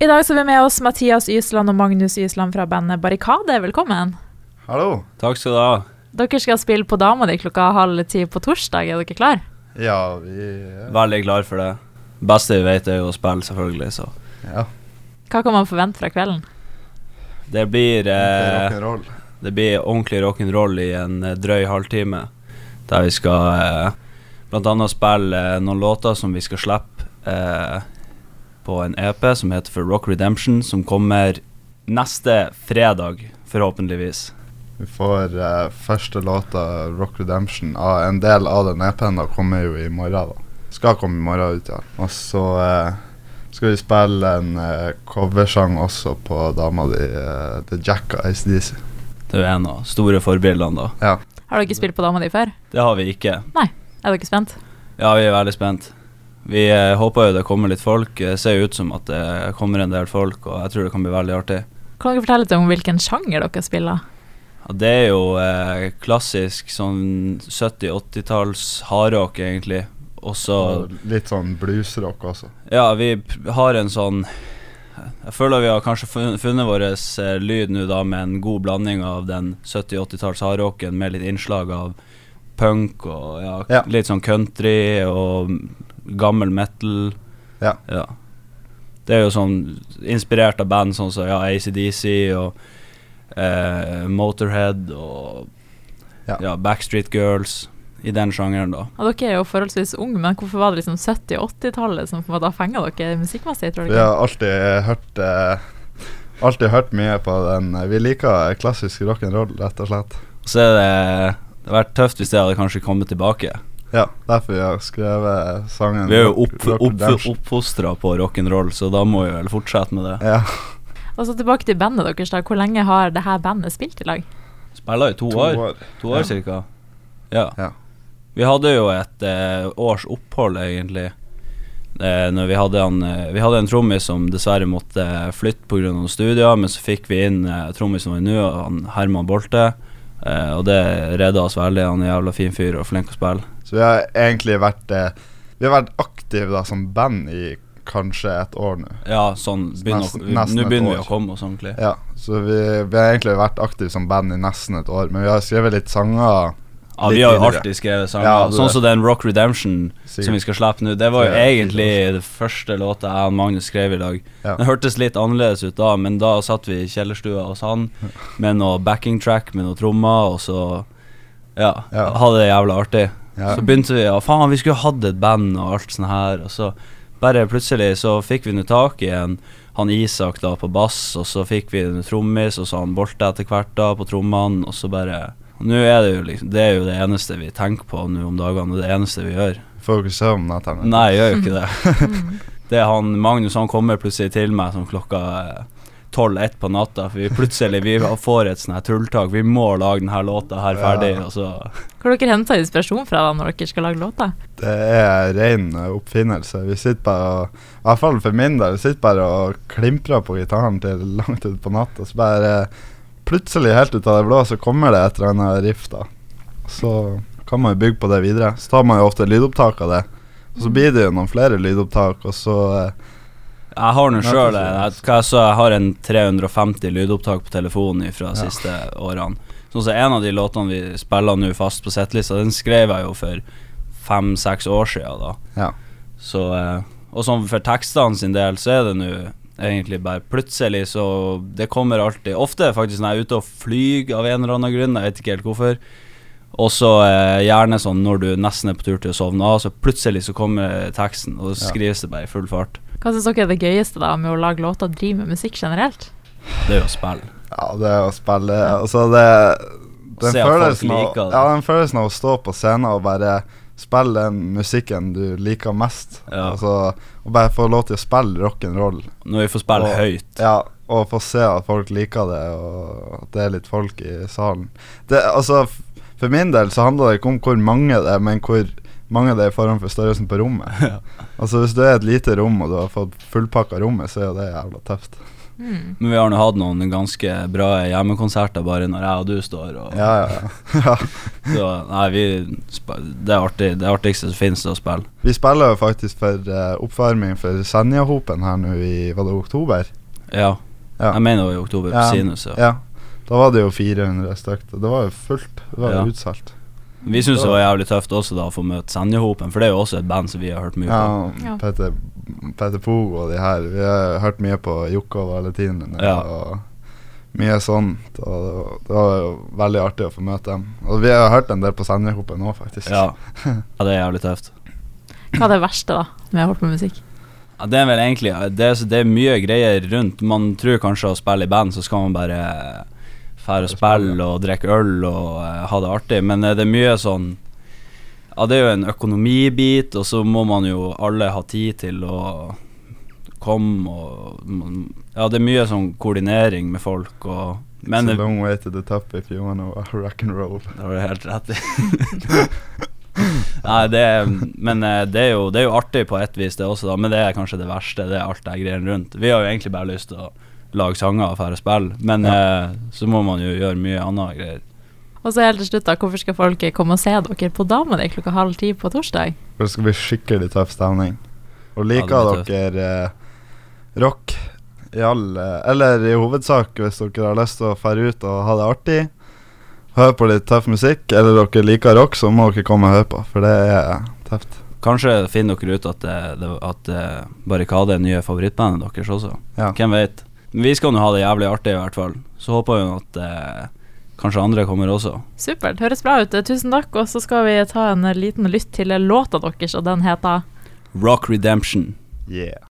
I dag så har vi med oss Mathias Ysland og Magnus Ysland fra bandet Barrikade. Velkommen. Hallo. Takk skal du ha. Dere skal spille på Dama di klokka halv ti på torsdag. Er dere klar? Ja, vi Veldig klar for det. Beste vi vet er jo å spille, selvfølgelig, så Ja. Hva kan man forvente fra kvelden? Det blir, eh, Rock'n'roll. det blir ordentlig rock'n'roll i en eh, drøy halvtime. Der vi skal eh, blant annet spille eh, noen låter som vi skal slippe eh, på en EP som heter For Rock Redemption, som kommer neste fredag, forhåpentligvis. Vi får eh, første låta, 'Rock Redemption', av en del av den EP-en. da Kommer jo i morgen, da. Skal komme i morgen ut, ja. Og så eh, skal vi spille en eh, coversang også på dama di, eh, The Jack og ACDC. Det er jo en av store forbildene, da. Har dere spilt på Dama di før? Det har vi ikke. Er dere spent? Ja, vi er veldig spent. Vi eh, håper jo det kommer litt folk. Det ser jo ut som at det kommer en del folk, og jeg tror det kan bli veldig artig. Kan dere fortelle litt om hvilken sjanger dere spiller? Ja, det er jo eh, klassisk sånn 70-80-talls hardrock, egentlig. Og så Og litt sånn bluesrock også. Ja, vi p- har en sånn Jeg føler vi har kanskje fun- funnet vår eh, lyd nå, da, med en god blanding av den 70-80-talls hardrocken med litt innslag av punk og ja, Ja. litt sånn country og gammel metal. Ja. Det er jo sånn inspirert av band sånn som ja, ACDC og eh, Motorhead og Ja. ja. Backstreet Girls. I den sjangeren, da. Og dere er jo forholdsvis unge, men hvorfor var det liksom 70- og 80-tallet som på en måte har fenga dere musikkmessig, tror Vi dere? har alltid hørt eh, Alltid hørt mye på den. Vi liker klassisk rock'n'roll, rett og slett. Så er det, det hadde vært tøft hvis det hadde kanskje kommet tilbake. Ja, derfor vi har skrevet sangen. Vi er jo Rock- opp, Rock opp, Redemption. oppfostra på rock'n'roll, så da må vi vel fortsette med det. Ja. Og så tilbake til bandet deres. da. Hvor lenge har det her bandet spilt i lag? Spiller i to, To år. år. To år Ja. cirka. Ja. Ja. Vi hadde jo et eh, års opphold, egentlig. Eh, når vi, hadde han, eh, vi hadde en trommis som dessverre måtte flytte pga. studier, men så fikk vi inn eh, trommisen vår nå, han Herman Bolte. Eh, og det redda oss veldig. Han er en jævla fin fyr og flink å spille. Så vi har egentlig vært eh, Vi har vært aktive da som band i kanskje et år nå. Ja, sånn begynner Nesten- å- nesten Nå et begynner vi år. å komme oss ordentlig. Ja, så vi, vi har egentlig vært aktive som band i nesten et år, men vi har skrevet litt sanger. Ja, Litt vi har jo tidligere. alltid skrevet sanger. Ja, det- sånn som den Rock Redemption som vi Sikkert. skal slippe nå. Det var jo Ja, egentlig den første låta jeg og Magnus skrev i dag. Ja. Den hørtes litt annerledes ut da, men da satt vi i kjellerstua hos han med noe backing track med noe trommer, og så ja, Ja. hadde det jævla artig. Ja. Så begynte vi ja, faen, vi skulle hatt et band og alt sånn her, og så bare plutselig så fikk vi nå tak i en han Isak da på bass, og så fikk vi en trommis, og så han Bolte etter hvert da på trommene, og så bare og Nå er det jo liksom Det er jo det eneste vi tenker på nå om dagene, og det eneste vi gjør. Får jo ikke søvn etter det. Nei, jeg gjør jo ikke det. Mm. Det er han Magnus han kommer plutselig til meg sånn klokka tolv-ett på natta, for vi plutselig vi får et sånn her tulltak. Vi må lage denne låta her ferdig, Ja. og så Hvor dere henter inspirasjon fra da når dere skal lage låter? Det er ren eh, oppfinnelse. Vi sitter bare og I hvert fall for min del. Vi sitter bare og klimprer på gitaren til langt utpå natt, og så bare eh, Plutselig, helt ut av det blå, så kommer det et eller annet riff, da. Så kan man jo bygge på det videre. Så tar man jo ofte lydopptak av det. Og så blir det jo noen flere lydopptak, og så eh, Jeg har nå Nei, sjøl det altså. er jeg, sant. hva jeg sa, jeg har en 350 lydopptak på telefonen fra Ja. siste årene. Sånn som en av de låtene vi spiller nå fast på settlista, den skrev jeg jo for fem-seks år siden da. Ja. Så, eh, og sånn for tekstene sin del, så er det nå egentlig bare plutselig så Det kommer alltid Ofte faktisk når jeg er ute og flyr av en eller annen grunn, jeg vet ikke helt hvorfor. Og så eh, gjerne sånn når du nesten er på tur til å sovne av, så plutselig så kommer teksten, og så Ja. skrives det bare i full fart. Hva syns dere er det gøyeste da med å lage låter og drive med musikk generelt? Det er jo spill. Ja, det å spille Altså, det den Se at folk følelsen, av, liker det. ja, den følelsen av å stå på scenen og bare spille den musikken du liker mest. Ja. Altså, og bare få lov til å spille rock'n'roll. Når vi får spille Og- høyt. Ja, og få se at folk liker det, og at det er litt folk i salen. Det, altså, f- for min del så handler det ikke om hvor mange det er, men hvor mange det er i forhold for størrelsen på rommet. Altså Hvis du er et lite rom og du har fått fullpakka rommet, så er jo det jævla tøft. Mm. Men vi har nå hatt noen ganske bra hjemmekonserter bare når jeg og du står. Og, Ja, ja, ja. ja. så, nei, vi, sp- det er artig, det artigste som finnes å spille. Vi spiller jo faktisk for eh, oppvarming for Senjahopen her nå i var det oktober. Ja. Ja. Jeg mener jo i oktober på Ja. Sinus. Ja. Ja. Da var det jo 400 stykk. og Det var jo fullt. Det var jo Ja. utsolgt. Vi syns det var jævlig tøft også da å få møte Senjehopen, for det er jo også et band som vi har hørt mye på. Ja, Ja. Petter, Peter Pogo og de her. Vi har hørt mye på Jokke og Valentinene Ja. og mye sånt. Og det var- det var jo veldig artig å få møte dem. Og vi har hørt en del på Senjahopen nå, faktisk. Ja. ja, det er jævlig tøft. Hva er det verste, da, med å holde på med musikk? Ja, det er vel egentlig det er, så- det er mye greier rundt. Man tror kanskje å spille i band, så skal man bare eh, fære og spille og drikke øl og eh, ha det artig, men eh, det er mye sånn Ja, det er jo en økonomibit, og så må man jo alle ha tid til å komme og man- Ja, det er mye sånn koordinering med folk og Men eh, It's a det long way to the top if you wanna rock and roll. Det har du helt rett i. Nei, det er, men eh, det er, jo, det er jo artig på ett vis, det også, da. Men det er kanskje det verste. Det er alt det greiene rundt. Vi har jo egentlig bare lyst til å lage sanger og færre spill, men eh, så må man jo gjøre mye annet greier. Og så helt til slutt, da, hvorfor skal folk komme og se dere på Dama di klokka halv ti på torsdag? For det skal bli skikkelig tøff stemning. Og Ja, det liker blir tøft. dere eh, rock i all eh, Eller i hovedsak, hvis dere har lyst til å fære ut og ha det artig, hør på litt tøff musikk, eller dere liker rock, så må dere komme og høre på, for det er tøft. Kanskje finner dere ut at, det- det, at eh, Barrikade er nye favorittbandet deres også. Ja. Hvem vet. Men vi skal nå ha det jævlig artig, i hvert fall. Så håper vi at eh, kanskje andre kommer også. Supert. Høres bra ut. Tusen takk. Og så skal vi ta en liten lytt til låta deres, og den heter Rock Redemption. Yeah.